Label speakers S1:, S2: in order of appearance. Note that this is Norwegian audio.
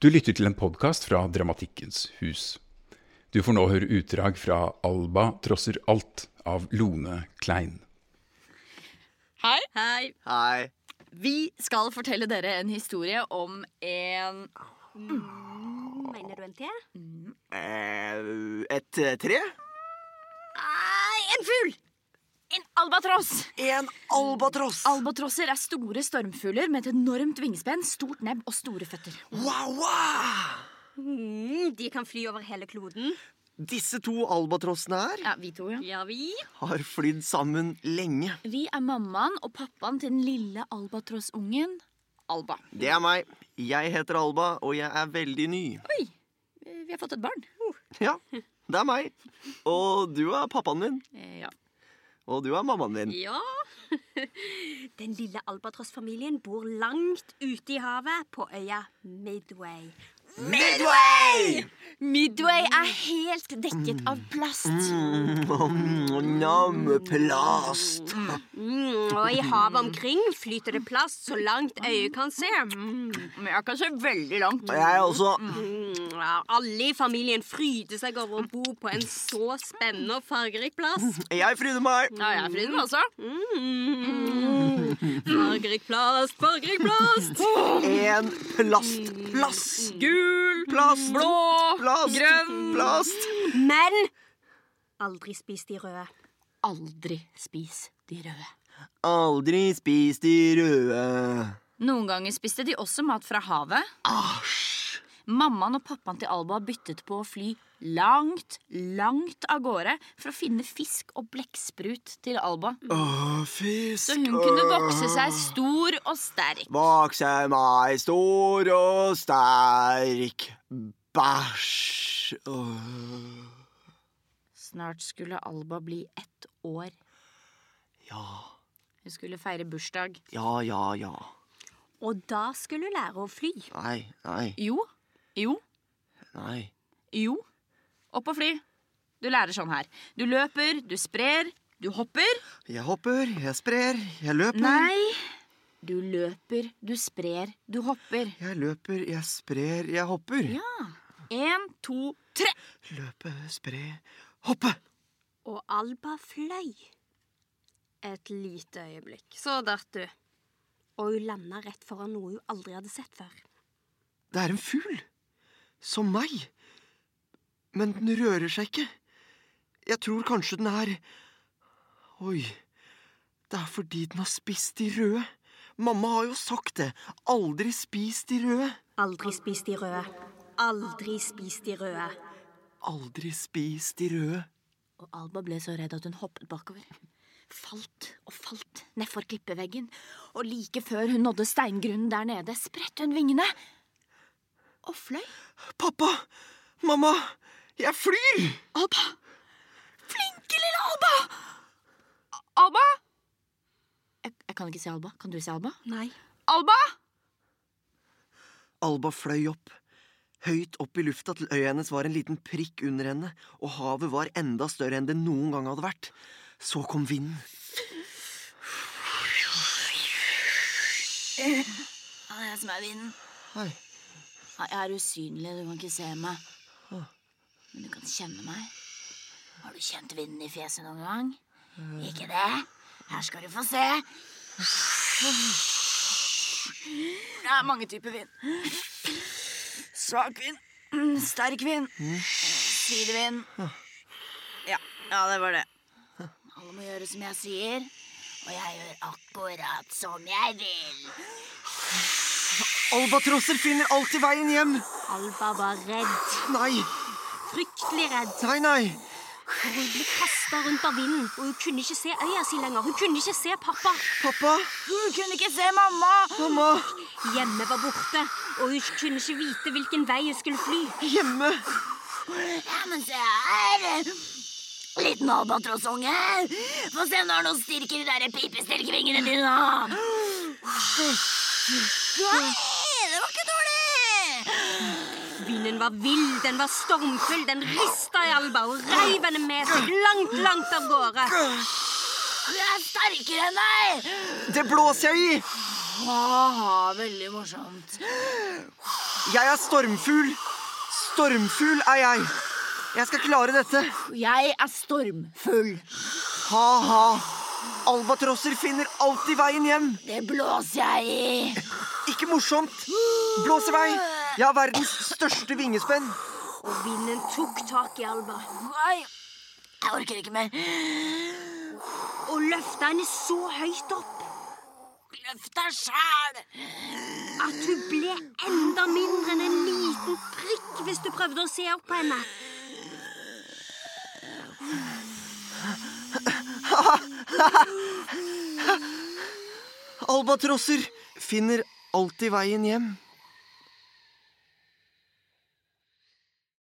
S1: Du lytter til en podkast fra Dramatikkens hus. Du får nå høre utdrag fra 'Alba trosser alt' av Lone Klein.
S2: Hei.
S3: Hei.
S4: Hei.
S3: Vi skal fortelle dere en historie om en
S5: Mener du en te?
S4: Eh, Et eh, tre?
S5: Nei, en fugl!
S3: En albatross!
S4: En albatross.
S3: Albatrosser er store stormfugler med et enormt vingespenn, stort nebb og store føtter.
S4: wow, wow.
S5: Mm, de kan fly over hele kloden.
S4: Disse to albatrossene her
S3: Ja, vi to, ja.
S5: Ja, vi.
S4: har flydd sammen lenge.
S3: Vi er mammaen og pappaen til den lille albatrossungen Alba.
S4: Det er meg. Jeg heter Alba, og jeg er veldig ny.
S3: Eh, Vi har fått et barn.
S4: Ja, det er meg. Og du er pappaen min.
S3: Eh, Ja.
S4: Og du er mammaen min.
S5: Ja. Den lille albatrossfamilien bor langt ute i havet på øya Midway.
S4: Midway!
S3: Midway er helt dekket av plast.
S4: Nam, Mm, plast.
S5: Mm, og i havet omkring flyter det plast så langt øyet kan se. Mm,
S3: Men jeg kan se veldig langt.
S4: Jeg også.
S5: mm, ja, alle i familien fryder seg over å bo på en så spennende og fargerik plass.
S4: Jeg fryder meg.
S3: Ja, jeg er altså. fri den også.
S5: Mm, fargerik plast, fargerik plast.
S4: En plast. Plast.
S5: Gul,
S4: Plast.
S5: blå,
S4: Plast.
S5: grønn.
S4: Plast.
S5: Men aldri spis de røde.
S3: Aldri spis de røde.
S4: Aldri spis de røde.
S3: Noen ganger spiste de også mat fra havet. Mammaen og pappaen til Alba byttet på å fly langt, langt av gårde for å finne fisk og blekksprut til Alba,
S4: Åh, fisk
S3: så hun kunne vokse seg stor og sterk.
S4: Vokse meg stor og sterk. Bæsj. Åh.
S3: Snart skulle Alba bli ett år.
S4: Ja,
S3: Hun skulle feire bursdag.
S4: ja, ja, ja.
S5: Og da skulle du lære å fly.
S4: Nei, nei,
S3: Jo, jo,
S4: nei.
S3: jo. Opp og fly. Du lærer sånn her. Du løper, du sprer, du hopper.
S4: Jeg hopper, jeg sprer, jeg løper.
S3: Nei. Du løper, du sprer, du hopper.
S4: Jeg løper, jeg sprer, jeg hopper.
S3: Én, to, tre.
S4: Løpe, spre, hoppe.
S5: Og Alba fløy. Et lite øyeblikk. Så datt du. Og hun landa rett foran noe hun aldri hadde sett før.
S4: Det er en fugl. Som meg. Men den rører seg ikke. Jeg tror kanskje den er Oi. Det er fordi den har spist de røde. Mamma har jo sagt det. Aldri spis de røde.
S5: Aldri spis de røde. Aldri spis de røde.
S4: Aldri spis de røde.
S3: Og Alba ble så redd at hun hoppet bakover. Falt og falt nedfor klippeveggen, og like før hun nådde steingrunnen der nede, spredte hun vingene og fløy.
S4: Pappa! Mamma! Jeg flyr!
S3: Alba! Flinke lille Alba! Alba? Jeg, jeg kan ikke se Alba. Kan du se Alba?
S5: Nei.
S3: Alba!
S4: Alba fløy opp. Høyt opp i lufta til øya hennes var en liten prikk under henne, og havet var enda større enn det noen gang hadde vært. Så kom vinden.
S3: Ja, det er jeg som er vinden.
S4: Hei.
S3: Ja, Jeg er usynlig, du kan ikke se meg. Men du kan kjenne meg. Har du kjent vinden i fjeset noen gang? Ikke det? Her skal du få se. Det er mange typer vind. Svak vind. Mm, Sterk vind. Sidevind. Ja, ja, det var det. Alle må gjøre som jeg sier. Og jeg gjør akkurat som jeg vil.
S4: Albatrosser finner alltid veien hjem.
S5: Alba var redd.
S4: Nei,
S5: Fryktelig redd.
S4: nei, nei.
S5: Og hun ble kasta rundt av vinden, og hun kunne ikke se øya si lenger. Hun kunne ikke se pappa.
S4: Pappa,
S3: Hun kunne ikke se mamma!
S4: mamma,
S5: Hjemme var borte, og hun kunne ikke vite hvilken vei hun skulle fly.
S4: hjemme.
S3: Ja, men se her. Liten albatrossunge. Få se, nå har noen styrker i de der pipestilkevingene dine. nå. Nei, det var ikke dårlig.
S5: Vinden var vill, den var stormfull, den rista i Alba og reiv henne med seg langt, langt av gårde.
S3: Du er sterkere enn deg.
S4: Det blåser jeg i.
S3: Haha, veldig morsomt.
S4: Jeg er stormfugl. Stormfugl er jeg. Jeg skal klare dette.
S6: Jeg er stormfull.
S4: Ha-ha. Albatrosser finner alltid veien hjem.
S6: Det blåser jeg i.
S4: Ikke morsomt. Blås i vei. Jeg har verdens største vingespenn.
S5: Og vinden tok tak i Alba
S6: Nei, jeg orker ikke mer.
S5: og løfta henne så høyt opp
S6: Løft deg sjæl.
S5: at hun ble enda mindre enn en liten prikk hvis du prøvde å se opp på henne.
S4: Albatrosser finner alltid veien hjem.